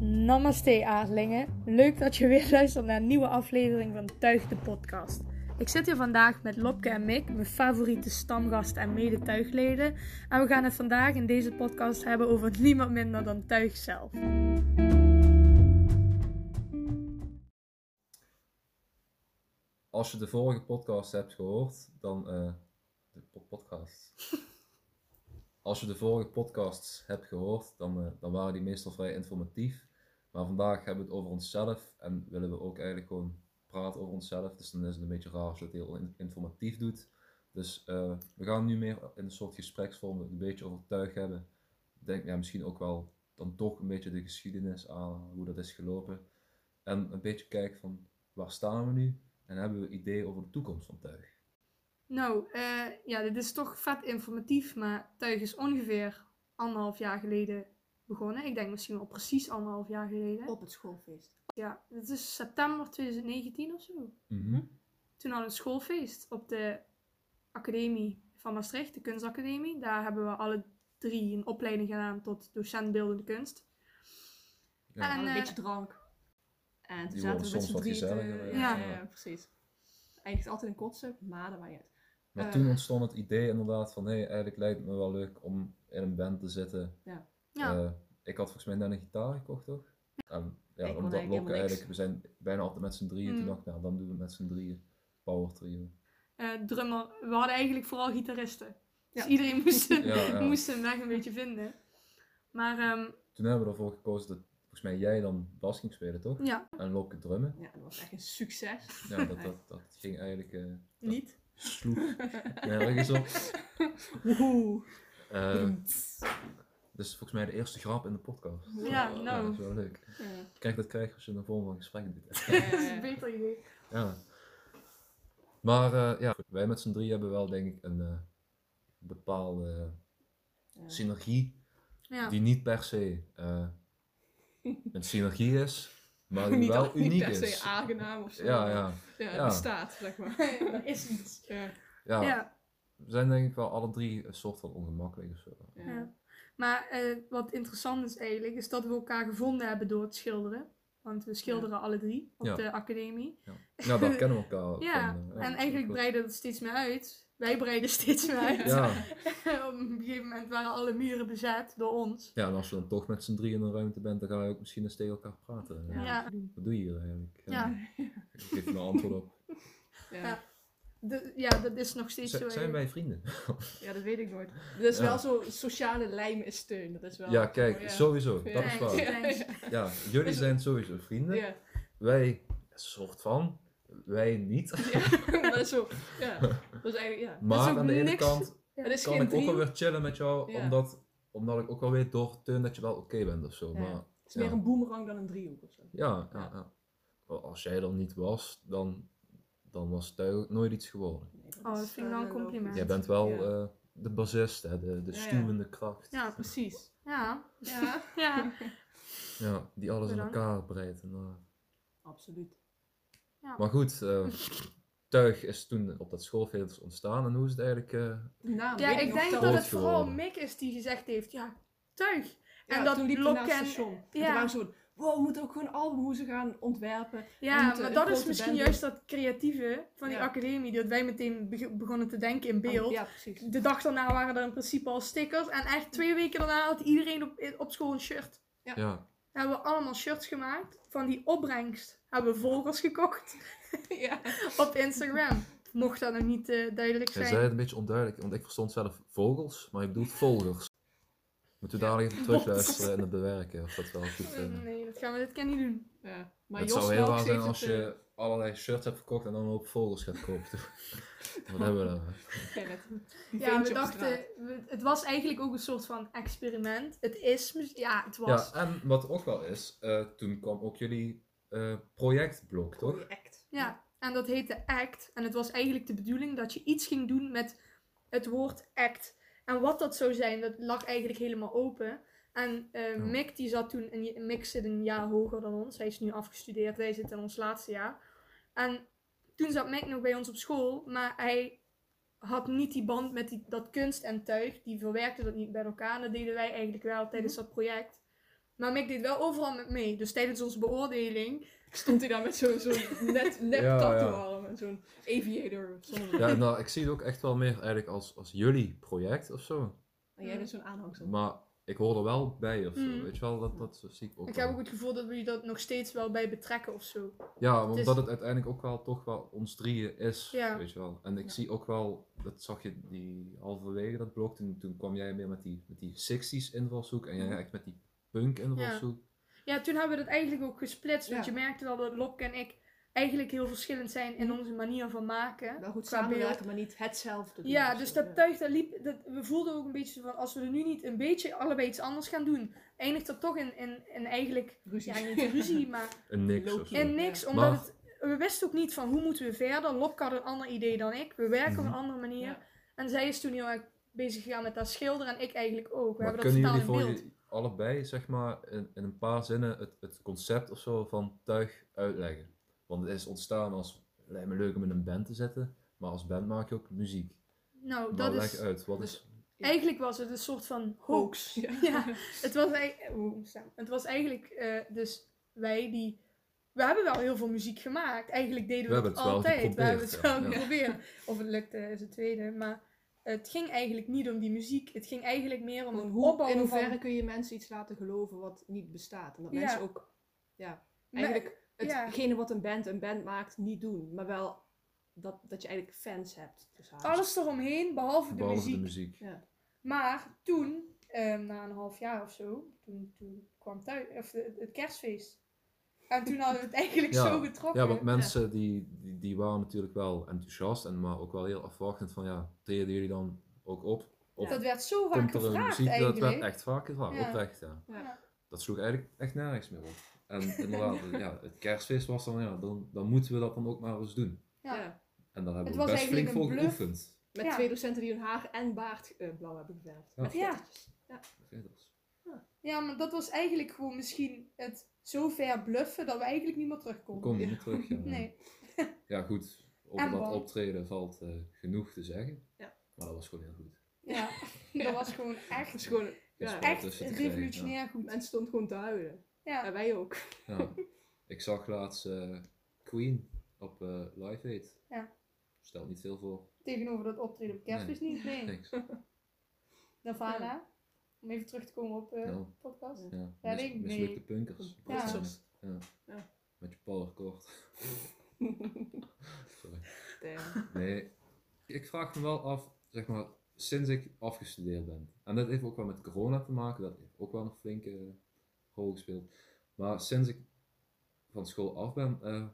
Namaste aardlingen. Leuk dat je weer luistert naar een nieuwe aflevering van Tuig de podcast. Ik zit hier vandaag met Lopke en Mick, mijn favoriete stamgasten en mede-tuigleden. En we gaan het vandaag in deze podcast hebben over niemand minder dan tuig zelf. Als je de vorige podcast hebt gehoord, dan. eh, de po- podcast. Als je de vorige podcasts hebt gehoord, dan, eh, dan waren die meestal vrij informatief. Maar vandaag hebben we het over onszelf en willen we ook eigenlijk gewoon praten over onszelf. Dus dan is het een beetje raar als je het heel in- informatief doet. Dus eh, we gaan nu meer in een soort gespreksvorm het een beetje overtuigd hebben. Ik denk ja, misschien ook wel dan toch een beetje de geschiedenis aan hoe dat is gelopen. En een beetje kijken van waar staan we nu? En hebben we ideeën over de toekomst van tuig? Nou, eh, ja, dit is toch vet informatief, maar tuig is ongeveer anderhalf jaar geleden begonnen. Ik denk misschien wel precies anderhalf jaar geleden. Op het schoolfeest. Ja, dit is september 2019 of zo. toen hadden we een schoolfeest op de academie van Maastricht, de kunstacademie. Daar hebben we alle drie een opleiding gedaan tot docent beeldende kunst. En, Ja. En, een eh, beetje drank. En toen Die zaten worden we met soms z'n wat drieën. te- gezelliger, ja. ja, Ja. ja, precies. Eigenlijk altijd een kotsen, maar dat maakt niet uit. Maar eh, toen ontstond het idee inderdaad van, hé, hey, eigenlijk lijkt het me wel leuk om in een band te zitten. Ja, Eh, ik had volgens mij net een gitaar gekocht, toch? En ja, Ik kon omdat eigenlijk helemaal Lokke niks. eigenlijk, we zijn bijna altijd met z'n drieën. Toen Mm. dacht ik, nou, dan doen we het met z'n drieën. Power trio. eh, drummer. We hadden eigenlijk vooral gitaristen. Dus Ja. iedereen moest, Ja, ja. moest zijn weg een beetje vinden. Maar ehm, Toen hebben we ervoor gekozen dat volgens mij jij dan bas ging spelen, toch? ja, En Lokke drummen. Ja, dat was echt een succes. Ja, dat, dat, dat ging eigenlijk... eh dat Niet. Sloeg nergens op. Woehoe. Eh, dus volgens mij de eerste grap in de podcast. Ja, nou. dat is wel leuk. Ja. Eh, Kijk, dat krijg je als je een vorm van gesprek doet. dat is een beter idee. ja. Maar eh, ja, goed, wij met z'n drie hebben wel denk ik een eh, bepaalde Ja. synergie Ja. die niet per se eh, een synergie is, maar die Niet wel al- uniek niet per is. se aangenaam of zo. ja, ja, Ja, het Ja. bestaat, zeg maar. Er is iets. Ja, ja, Ja, We zijn denk ik wel alle drie een soort van ongemakkelijk of zo. ja. Ja. maar eh, wat interessant is eigenlijk, is dat we elkaar gevonden hebben door het schilderen. Want we schilderen alle drie op Ja. de academie. Ja, ja daar kennen we elkaar ook Ja, van, eh, en eigenlijk goed. breidde het steeds meer uit. Wij breiden steeds meer uit. Ja. Op een gegeven moment waren alle muren bezet door ons. ja, en als je dan toch met z'n drie in een ruimte bent, dan ga je ook misschien eens tegen elkaar praten. Ja. Ja. Wat doe je hier eigenlijk? Ja. Ik geef me een antwoord op. Ja. De- ja, dat is nog steeds zo. Z- zijn wij vrienden? Ja, dat weet ik nooit. Dat is Ja. wel zo, sociale lijm is steun. Dat is wel... Oh, Ja, kijk, ja. sowieso. Dat is Ja. waar. Ja, ja. Ja, jullie zijn sowieso vrienden. Dus- Ja. Wij, soort van. Wij niet. Ja, maar dat is zo. Ja, dat is eigenlijk. Ja. Maar ook aan de ene niks- kant Het is kan geen ik ook drie. alweer chillen met jou, Ja. omdat, omdat ik ook wel weet door Teun dat je wel oké bent of zo. Ja. Maar Het is meer ja. een boemerang dan een driehoek of zo. ja, ja, Ja. ja. Wel, als jij dan niet was, dan, dan was het eigenlijk nooit iets geworden. Nee, Oh, dat is eh, vind ik wel een logisch. compliment. Jij bent wel Ja. eh, de bassist, hè, de, de Ja, ja. stuwende kracht. Ja. Precies. Ja, Ja, ja. Ja, die alles in Bedankt. elkaar breidt. En, eh, absoluut. Maar goed, eh, Tuig is toen op dat schoolfeest ontstaan. En hoe is het eigenlijk... eh, Die naam, ja weet ik nog denk wel. dat het Groot vooral geworden. Mick is die gezegd heeft, ja, tuig. Ja, en dat toen liep hij Lokken naar het en- station. En toen ja. waren ze zo van, wow, we moeten ook gewoon albumhoezen gaan ontwerpen. We Ja, moeten maar een dat is eh, grote misschien band doen. juist dat creatieve van die Ja. Oh, academie, dat wij meteen beg- begonnen te denken in beeld. Ja, precies. De dag daarna waren er in principe al stickers. En echt twee weken daarna had iedereen op, op school een shirt. Ja. ja, hebben we allemaal shirts gemaakt. Van die opbrengst hebben we volgers gekocht ja. op Instagram. Mocht dat nog niet eh, duidelijk Hij zijn. zei het een beetje onduidelijk, want ik verstond zelf vogels, maar ik bedoel volgers. Moeten we dadelijk even terugluisteren en het bewerken, of dat wel goed Eh, eh. Nee, dat gaan we dit keer niet doen. Ja. Maar Het Jos zou heel Melks raar zijn heeft als het, je allerlei shirts hebt verkocht en dan een hoop vogels gaat kopen. Wat hebben we dan? eh, Gerrit, die Ja, ventje we op straat. dachten, we- het was eigenlijk ook een soort van experiment. Het is, mis- ja, het was. Ja, en wat ook wel is, eh, toen kwam ook jullie eh, projectblok, toch? Project. Ja. en dat heette act. En het was eigenlijk de bedoeling dat je iets ging doen met het woord act. En wat dat zou zijn, dat lag eigenlijk helemaal open. En eh, Ja. Mick die zat toen, een, j- Mick zit een jaar hoger dan ons. Hij is nu afgestudeerd, wij zitten in ons laatste jaar. En toen zat Mick nog bij ons op school, maar hij had niet die band met die, dat kunst en tuig. Die verwerkte dat niet bij elkaar. En dat deden wij eigenlijk wel tijdens dat project. Maar Mick deed wel overal met mee. Dus tijdens onze beoordeling. Stond hij daar met zo'n zo'n net, nep Ja, tattoo ja. arm en zo'n aviator zonder... Ja, nou, ik zie het ook echt wel meer eigenlijk als, als jullie project of zo. En jij bent zo'n aanhangsel. Maar ik hoor er wel bij of zo. Mm. Weet je wel, dat, dat zie ik ook. Ik wel. heb ook het gevoel dat we dat nog steeds wel bij betrekken of zo. Ja, Het omdat is- het uiteindelijk ook wel toch wel ons drieën is, Ja. weet je wel. En ik Ja. zie ook wel, dat zag je die halverwege dat blok, toen, toen kwam jij meer met die, met die 60s invalshoek en jij Mhm. echt met die punk invalshoek. Ja, toen hebben we dat eigenlijk ook gesplitst. Want Ja. je merkte wel dat Lopke en ik eigenlijk heel verschillend zijn Hm. in onze manier van maken. Wel goed Qua samenwerken, maar niet hetzelfde doen Ja, of dus zo, dat tuig, dat liep, dat, we voelden ook een beetje van, als we er nu niet een beetje allebei iets anders gaan doen, eindigt dat toch in, in, in eigenlijk, Ruzie. ja, niet ruzie, maar En niks Low-key. of zo. in Ja. niks. Omdat Maar- het, we wisten ook niet van, hoe moeten we verder? Lopke had een ander idee dan ik, we werken Mhm. op een andere manier. Ja. En zij is toen heel erg bezig gegaan met dat schilderen en ik eigenlijk ook. We maar hebben dat kunnen totaal jullie in voor beeld. je allebei, zeg maar, in, in een paar zinnen het, het concept of zo van tuig uitleggen? Want het is ontstaan als, lijkt me leuk om in een band te zetten, maar als band maak je ook muziek. Nou, maar dat leg is... uit, wat dus- is... Ja. Eigenlijk was het een soort van hoax. Hoax. Ja. Ja, het was, ei- oeh, moet staan. het was eigenlijk eh, dus wij die... We hebben wel heel veel muziek gemaakt. Eigenlijk deden We we, hebben het het wel altijd. we hebben het geprobeerd, wel ja. geprobeerd. Of het lukte is het tweede. Maar het ging eigenlijk niet om die muziek. Het ging eigenlijk meer om Gewoon een hoe, opbouw in hoeverre van... kun je mensen iets laten geloven wat niet bestaat? En dat Ja. mensen ook ja, Me- eigenlijk ja. hetgene wat een band een band maakt niet doen. Maar wel dat, dat je eigenlijk fans hebt. Dus Alles eromheen, behalve de, Behalve muziek. de muziek. Maar toen, eh, na een half jaar of zo, toen, toen kwam thuis, of de- het kerstfeest. En toen hadden we het eigenlijk Ja. zo getrokken. Ja, want mensen Die, die, die waren natuurlijk wel enthousiast, en maar ook wel heel afwachtend van ja, treden jullie dan ook op? Of Dat werd zo vaak komt er een gevraagd muziek? Dat eigenlijk. werd echt vaak gevraagd, Ja. oprecht ja. Ja. Dat sloeg eigenlijk echt nergens meer op. En inderdaad, ja, het kerstfeest was dan ja, dan, dan moeten we dat dan ook maar eens doen. Ja. Ja. En daar hebben Het was we best flink eigenlijk voor een bluff. geoefend. Met Ja. twee docenten die hun haar en baard eh, blauw hebben geverfd. Ja. Met Ja. glittertjes. Ja. Ridders. Ja, maar dat was eigenlijk gewoon misschien het zo ver bluffen dat we eigenlijk niet meer terugkomen. Kom je niet terug. Ja, Oh, Nee. ja goed, En over dat bang. optreden valt eh, genoeg te zeggen. Ja. Maar dat was gewoon heel goed. Ja, dat was gewoon Het is echt, gewoon, Ja, ja, echt tussen te krijgen, revolutionair goed. mensen stonden gewoon te huilen. Ja. En wij ook. Ja. Ik zag laatst eh, Queen op eh, Live Aid. Ja. Stelt niet veel voor. Tegenover dat optreden op kerstfeest niet. Nee. Niks. Nirvana. Om even terug te komen op eh Ja. podcast. Ja. Ja, Mis- ik- nee. mislukte punkers. Ja. Ja. Ja. Met je powerkort. Sorry. Damn. Nee. Ik vraag me wel af, zeg maar, sinds ik afgestudeerd ben. En dat heeft ook wel met corona te maken. Dat heeft ook wel een flinke rol gespeeld. Maar sinds ik van school af ben, eh,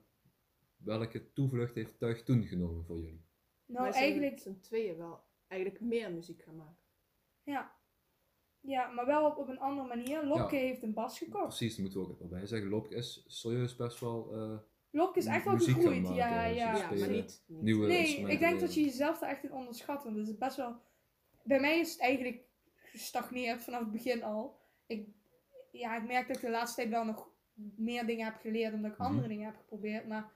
welke toevlucht heeft Tuig toen genomen voor jullie? Nou, Wij zijn eigenlijk met z'n tweeën wel eigenlijk meer muziek gaan maken. Ja. Ja, maar wel op, op een andere manier. Lopke Ja. heeft een bas gekocht. Nou, Precies, daar moeten we ook wel bij zeggen. Lopke is serieus best wel eh, Lopke is echt wel Muziek gaan gegroeid. maken, Ja, dus ja. het Ja, maar spelen. niet. niet- nieuwe Nee, instrumenten ik denk leren. dat je jezelf daar echt in onderschat. Want het is best wel. Bij mij is het eigenlijk gestagneerd vanaf het begin al. Ik, ja, ik merk dat ik de laatste tijd wel nog meer dingen heb geleerd. Omdat ik Mhm. andere dingen heb geprobeerd. Maar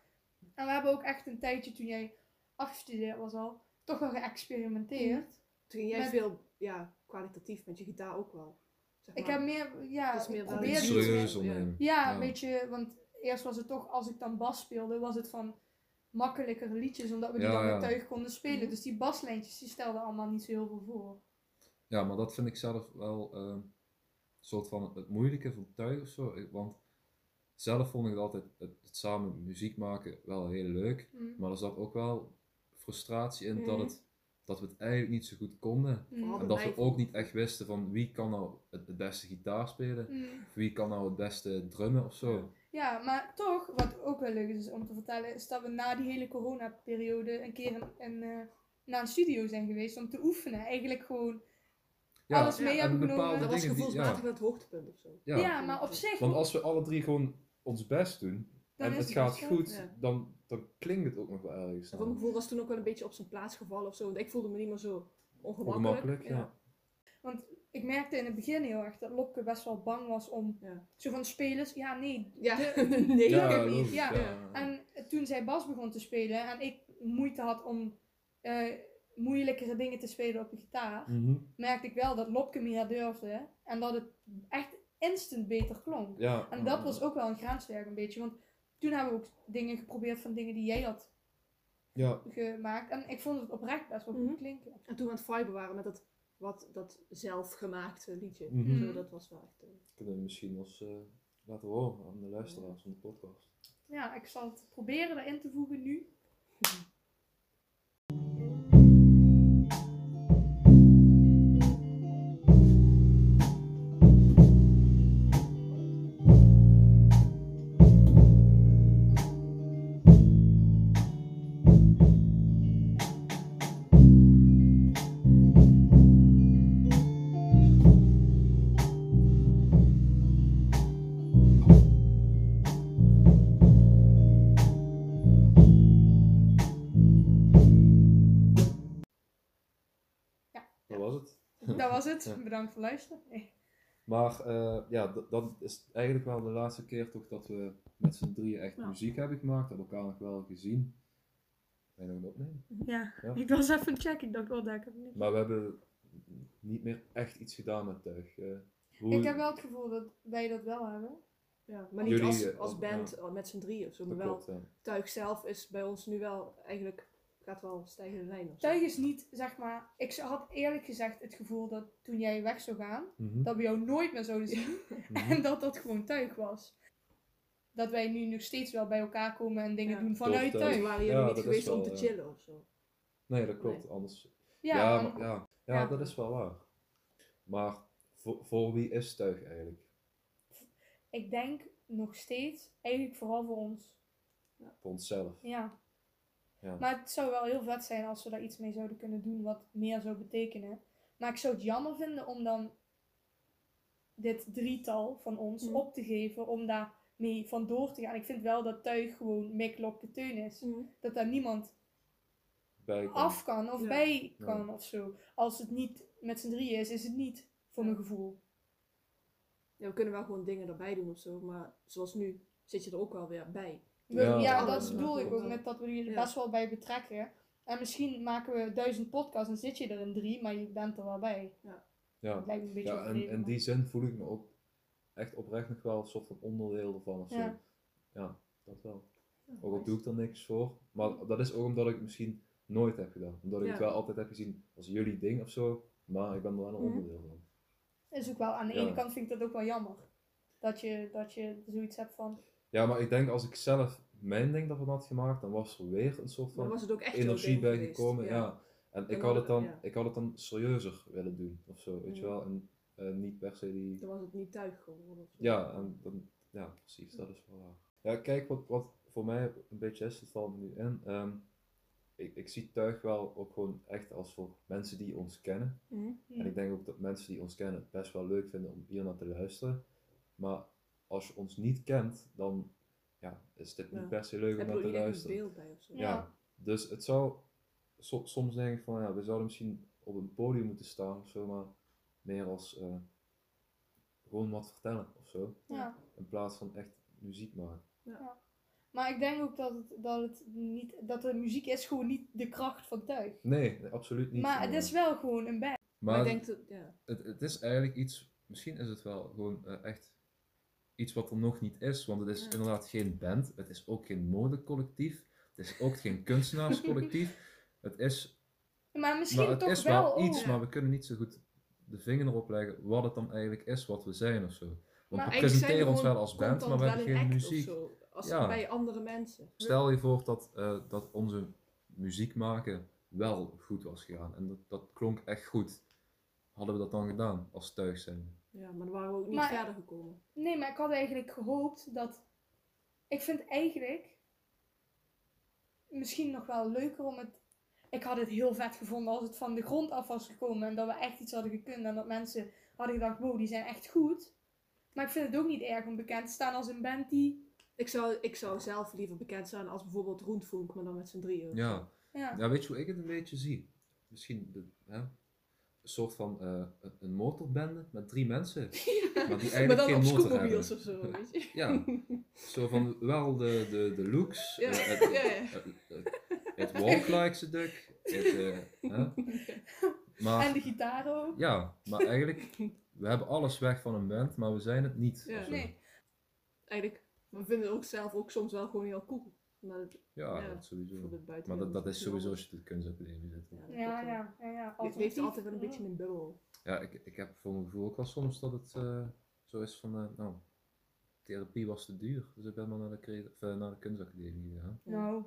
en we hebben ook echt een tijdje toen jij afgestudeerd was al. Toch wel geëxperimenteerd. Toen ging jij Met- veel ja, kwalitatief met je gitaar ook wel. Zeg Ik maar. heb meer. Ja, Het is meer ik wel probeer iets iets iets serieus. serieuzer meer. meer. ondernemen. Ja, Ja. weet je, want eerst was het toch, als ik dan bas speelde, was het van makkelijker liedjes, omdat we die Ja, dan ja. met tuig konden spelen. Mhm. Dus die baslijntjes, die stelden allemaal niet zo heel veel voor. Ja, maar dat vind ik zelf wel eh, een soort van het moeilijke van tuig of zo. Ik- Want zelf vond ik het altijd het, het samen muziek maken wel heel leuk. Mm. Maar er zat ook wel frustratie in dat, Mhm. het, dat we het eigenlijk niet zo goed konden. Mm. En dat we ook niet echt wisten van wie kan nou het, het beste gitaar spelen. Mm. Of wie kan nou het beste drummen of zo. Ja, maar toch, wat ook wel leuk is om te vertellen, is dat we na die hele coronaperiode een keer een, een, eh, naar een studio zijn geweest om te oefenen. Eigenlijk gewoon, Ja, Alles mee en hebben bepaalde genomen. Dat was dingen die- gevoelsmatig het hoogtepunt of zo. ja, ja, ja. maar op zich, Want als we alle drie gewoon ons best doen dan en is het gaat best wel- goed, ja. dan, dan klinkt het ook nog wel ergens. eh, En Voor mijn gevoel was toen ook wel een beetje op zijn plaats gevallen of zo. Want ik voelde me niet meer zo ongemakkelijk. Ongemakkelijk, ja. Ik merkte in het begin heel erg dat Lopke best wel bang was om, Ja. zo van spelers, ja nee, Ja, de- nee. Ja. Ja. niet, logisch, ja. En toen zij bas begon te spelen en ik moeite had om eh, moeilijkere dingen te spelen op de gitaar, Mhm. merkte ik wel dat Lopke meer durfde. En dat het echt instant beter klonk. Ja. En dat was ook wel een grenswerk een beetje. Want toen hebben we ook dingen geprobeerd van dingen die jij had Ja. gemaakt. En ik vond het oprecht best wel Mhm. goed klinken. En toen we aan het viben waren met dat, wat, dat zelfgemaakte liedje. Mhm. Mm. Zo, dat was wel echt... eh, Kunnen we misschien als eh, laten horen aan de luisteraars van de podcast. Ja, ik zal het proberen erin te voegen nu. Dat was het. Dat was het. Ja. Bedankt voor luisteren. Nee. Maar eh, ja, d- dat is eigenlijk wel de laatste keer toch dat we met z'n drieën echt Ja. muziek hebben gemaakt. Hebben elkaar nog wel gezien. Ben je nog een opnemen? Ja. Ja. ik was even checken. Ik dacht, oh, daar heb ik niet. Maar we hebben niet meer echt iets gedaan met tuig. Eh, hoe- Ik heb wel het gevoel dat wij dat wel hebben. Ja, maar niet Jullie, als, eh, als oh, band eh, met z'n drieën of zo. Maar Dat wel, klopt, ja. Tuig zelf is bij ons nu wel eigenlijk gaat wel stijgende lijn. Of zo. Tuig is niet, zeg maar... Ik had eerlijk gezegd het gevoel dat toen jij weg zou gaan, Mhm, dat we jou nooit meer zouden zien. mhm. En dat dat gewoon tuig was. Dat wij nu nog steeds wel bij elkaar komen en dingen Ja. doen vanuit Door tuig. tuig. Toen Ja, waren jullie Ja, dat niet is geweest om wel, te ja. chillen of zo. Nee, dat klopt. Anders Ja, ja, maar- ja. Ja, ja. dat is wel waar. Maar voor, voor wie is tuig eigenlijk? ik denk nog steeds, eigenlijk vooral voor ons. Voor onszelf. Ja. Ja. Maar het zou wel heel vet zijn als we daar iets mee zouden kunnen doen wat meer zou betekenen. Maar ik zou het jammer vinden om dan dit drietal van ons Mhm. op te geven om daar mee vandoor te gaan. Ik vind wel dat tuig gewoon Mick Lok de Teun is. Dat daar niemand Bij af kan of Mm. Ja. bij Ja. kan of zo. Als het niet met z'n drieën is, is het niet voor mijn gevoel. Ja, we kunnen wel gewoon dingen erbij doen of zo, maar zoals nu zit je er ook wel weer bij. We- Ja. ja, Ja, dat ja, bedoel ja. ik ook met dat we jullie Ja. best wel bij betrekken. En misschien maken we duizend podcasts en zit je er in drie, maar je bent er wel bij. Ja, Dat lijkt me een beetje ja en overdreven, in die zin voel ik me ook echt oprecht nog wel een soort van onderdeel ervan. Of zo. Ja. Ja. dat wel. Ook al doe ik er niks voor. Maar dat is ook omdat ik het misschien nooit heb gedaan. Omdat ik het Ja. wel altijd heb gezien als jullie ding of zo. Maar ik ben er wel een Mhm. onderdeel van. maar Is ook wel, aan de Ja. ene kant vind ik dat ook wel jammer. Dat je, dat je zoiets hebt van, Ja, maar ik denk als ik zelf mijn ding daarvan had gemaakt, dan was er weer een soort Maar van dan was het ook echt jouw energie ding bij geweest. gekomen. Ja. En ik Dan had, hadden het dan, we- ja. Mm. ik had het dan serieuzer willen doen of zo, weet je Ja. wel. En eh, niet per se die. Dan was het niet tuig geworden. of zo. Ja, en dan, ja precies, dat is wel waar. Ja, kijk, wat, wat voor mij een beetje is, dat valt me nu in. ehm, ik, ik zie tuig wel ook gewoon echt als voor mensen die ons kennen. Mhm. hmm, En ik denk ook dat mensen die ons kennen het best wel leuk vinden om hier naar te luisteren. Maar als je ons niet kent, dan ja, is dit Ja. niet per se leuk om Heb je naar er te een luisteren. beeld bij of zo? Ja. Ja. Dus het zou, so- soms denk ik van ja, we zouden misschien op een podium moeten staan of zo, maar meer als eh, gewoon wat vertellen of zo. ja. Ja. In plaats van echt muziek maken. Maar ik denk ook dat, het, dat, het niet, dat de muziek is gewoon niet de kracht van tuig. Nee, nee, absoluut niet. Maar het is wel gewoon een band. maar Maar ik denk dat, ja. het, het is eigenlijk iets, misschien is het wel gewoon eh, echt iets wat er nog niet is, want het is Ja. inderdaad geen band, het is ook geen modecollectief, het is ook geen kunstenaarscollectief. het is Maar misschien Maar het toch is wel, wel, iets, ook. maar we kunnen niet zo goed de vinger erop leggen wat het dan eigenlijk is wat we zijn of zo. Want eigenlijk we zijn we presenteren ons gewoon wel als band, maar constant we hebben wel geen een act of muziek. zo, als Ja. bij andere mensen. Stel je voor dat, eh, dat onze muziek maken wel goed was gegaan en dat, dat klonk echt goed. Hadden we dat dan gedaan als thuis zijn? Ja, maar dan waren we ook niet Maar- verder gekomen. Nee, maar ik had eigenlijk gehoopt dat. Ik vind eigenlijk misschien nog wel leuker om het. Ik had het heel vet gevonden als het van de grond af was gekomen en dat we echt iets hadden gekund en dat mensen hadden gedacht: wow, die zijn echt goed. Maar ik vind het ook niet erg om bekend te staan als een band die. Ik zou, ik zou zelf liever bekend zijn als bijvoorbeeld Roentvonk, maar dan met z'n drieën. of zo. Ja. Ja, ja, weet je hoe ik het een beetje zie? Misschien de, hè? een soort van eh, een- een motorbende met drie mensen, maar die eigenlijk maar dan geen op motor hebben. scootmobiels of zo, weet je. Ja, zo van wel de, de, de looks, Ja, eh, het, ja, ja. het, het walk like ze duck, het, eh, hè. en maar, de gitaar ook. ja, maar eigenlijk we hebben alles weg van een band, maar we zijn het niet. Ja. of zo. Nee. Eigenlijk, we vinden het ook zelf ook soms wel gewoon heel cool. Maar dat, Ja, Ja, dat sowieso. voor de buitenwereld Maar dat, dat is misschien sowieso wel. als je de kunstacademie zit. Ja, dat Ja, klopt wel. ja, ja. ja. Het leeft Alternatief. altijd wel een beetje in een bubbel. Ja, ik, ik heb voor mijn gevoel ook wel soms dat het eh, zo is van, eh, nou, therapie was te duur. Dus ik ben maar naar de, crea- of, eh, naar de kunstacademie gegaan. Nou,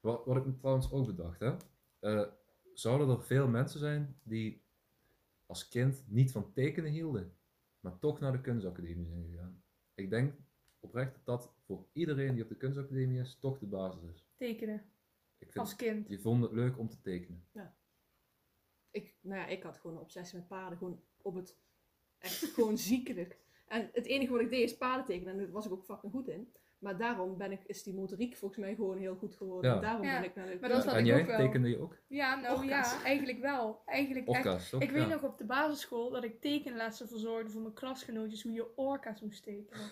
Wat, wat ik me trouwens ook bedacht, hè. eh, zouden er veel mensen zijn die als kind niet van tekenen hielden, maar toch naar de kunstacademie zijn gegaan? Ik denk oprecht dat dat voor iedereen die op de kunstacademie is, toch de basis is. tekenen. Ik vind, Als kind. je vond het leuk om te tekenen. Ik, nou ja, ik had gewoon een obsessie met paarden. Gewoon op het, echt gewoon ziekelijk. En het enige wat ik deed is paarden tekenen. En daar was ik ook fucking goed in. Maar daarom ben ik, is die motoriek volgens mij gewoon heel goed geworden. Ja. En daarom Ja, ben ik naar de... maar dat is Ja. had en ik jij ook wel. tekende je ook? Ja, nou ja, Orka's. eigenlijk wel. Eigenlijk echt. Orka's, toch? Ik weet Ja. nog op de basisschool dat ik tekenlessen verzorgde voor mijn klasgenootjes hoe je orka's moest tekenen.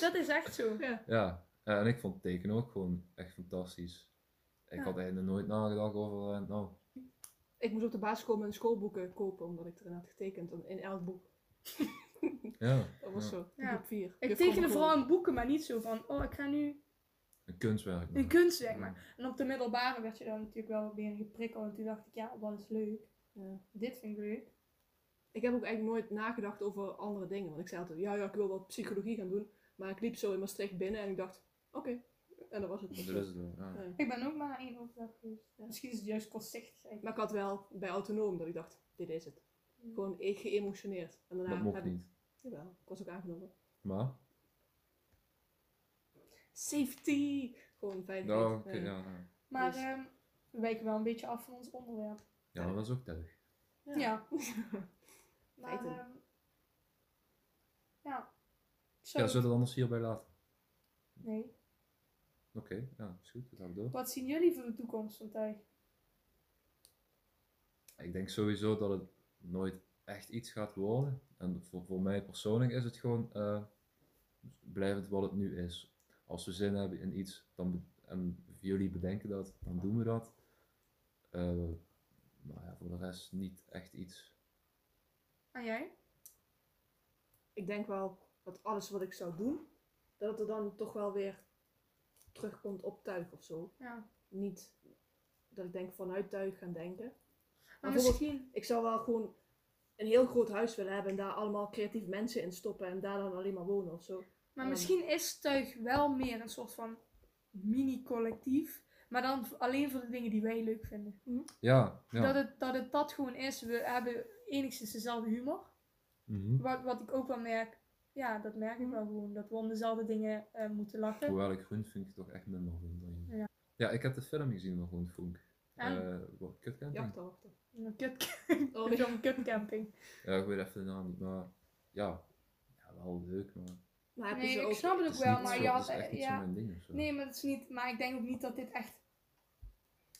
dat is echt zo. Ja, ja, en ik vond tekenen ook gewoon echt fantastisch. Ik Ja. had eigenlijk nooit nagedacht over, eh, nou, Ik moest op de basisschool mijn schoolboeken kopen, omdat ik er inderdaad getekend had in elk boek. ja, Dat was ja, zo, Ja. groep 4. Ik tekende vooral in boeken, maar niet zo van, oh, ik ga nu een kunstwerk. een maken. kunst, zeg maar. En op de middelbare werd je dan natuurlijk wel weer geprikkeld. En toen dacht ik, ja, wat is leuk. Ja. Dit vind ik leuk. Ik heb ook eigenlijk nooit nagedacht over andere dingen. Want ik zei altijd, ja, ja, ik wil wel psychologie gaan doen. Maar ik liep zo in Maastricht binnen en ik dacht, oké. En dat was het. Dat is het wel, ja. Ja. Ik ben ook maar één overdag geweest. Misschien is het juist kortzichtig. Maar ik had wel bij autonoom dat ik dacht, dit is het. Gewoon e- geëmotioneerd. En daarna Dat mocht heb ik- niet. Jawel, ik was ook aangenomen. Maar, Safety! Gewoon veiligheid. nou, oké, eh, ja, Ja. ja. Maar Dus- ehm, we wijken wel een beetje af van ons onderwerp. ja, maar dat is ook tuig. Ja. Maar, Feiten. ehm, ja. Zo. Ja, zullen we het anders hierbij laten? Nee. Oké, ja, is goed, dat gaan we door. Wat zien jullie voor de toekomst van Tuig? Ik denk sowieso dat het nooit echt iets gaat worden. En voor, voor mij persoonlijk is het gewoon eh, blijvend wat het nu is. Als we zin hebben in iets dan be- en jullie bedenken dat, dan doen we dat. Eh maar ja, voor de rest niet echt iets. En Ah, jij? ik denk wel dat alles wat ik zou doen, dat het er dan toch wel weer terugkomt op tuig of zo. Ja. Niet dat ik denk vanuit tuig gaan denken. Maar bijvoorbeeld- misschien. Ik zou wel gewoon een heel groot huis willen hebben en daar allemaal creatief mensen in stoppen en daar dan alleen maar wonen of zo. Maar Ja. misschien is Tuig wel meer een soort van mini-collectief. Maar dan v- alleen voor de dingen die wij leuk vinden. Ja, ja. Dat, het, dat het dat gewoon is. We hebben enigszins dezelfde humor. Mhm. Wat, wat ik ook wel merk. Ja, dat merk Mhm. ik wel gewoon. Dat we om dezelfde dingen eh, moeten lachen. Hoewel ik Groenfunk toch echt minder vind dan jullie. Ja. Ja, ik heb de film gezien van Groenfunk. En? Eh wat kut kent Jachterwachter. Een kutcamping. Oh, Een kutcamping. Ja, ik weet even de naam niet, maar ja, ja wel leuk, maar Maar heb je Nee, ze ik ook... snap het het ook is wel. niet Maar zo- je het had... is echt eh, niet zo Ja. mijn ding of zo. Nee, maar dat is niet. Maar ik denk ook niet dat dit echt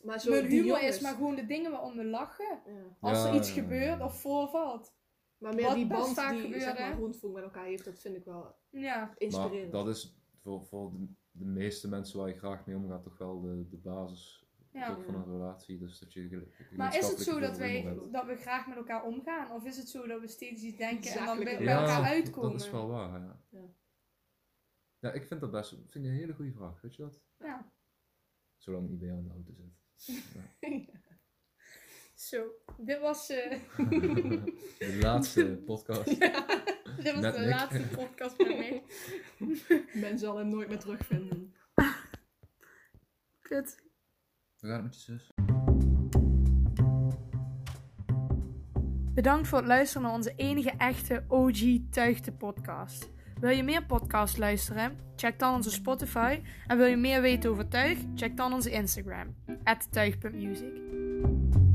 Maar zo mijn die humor jongens- is, maar gewoon de dingen waarom we lachen. Ja. Als Ja, er iets ja, ja, gebeurt ja. of voorvalt. Maar meer Wat die best band vaak die gebeurt, zeg maar, hè? rondvoer met elkaar heeft, dat vind ik wel Ja, Maar inspirerend. dat is voor, voor de, de meeste mensen waar je graag mee omgaat toch wel de, de basis ja. ook van een relatie. Dus dat je gele- Maar is het gemeenschappelijk zo dat, veel humor wij, hebt. dat we graag met elkaar omgaan? Of is het zo dat we steeds iets denken en dan bij, Zakelijke bij Ja, elkaar dat- uitkomen? Dat is wel waar, ja. Ja. Ja, ik vind dat best vind ik een hele goede vraag, weet je dat? Ja. Zolang het niet bij jou in de auto zit. Zo, dit was, eh, de laatste podcast. dit was Met de Nick. laatste podcast met mij. Men zal hem nooit meer terugvinden. Kut. We gaan het met je zus. Bedankt voor het luisteren naar onze enige echte OG Tuigte podcast. Wil je meer podcasts luisteren? Check dan onze Spotify. En wil je meer weten over tuig? Check dan onze Instagram, @tuig.music.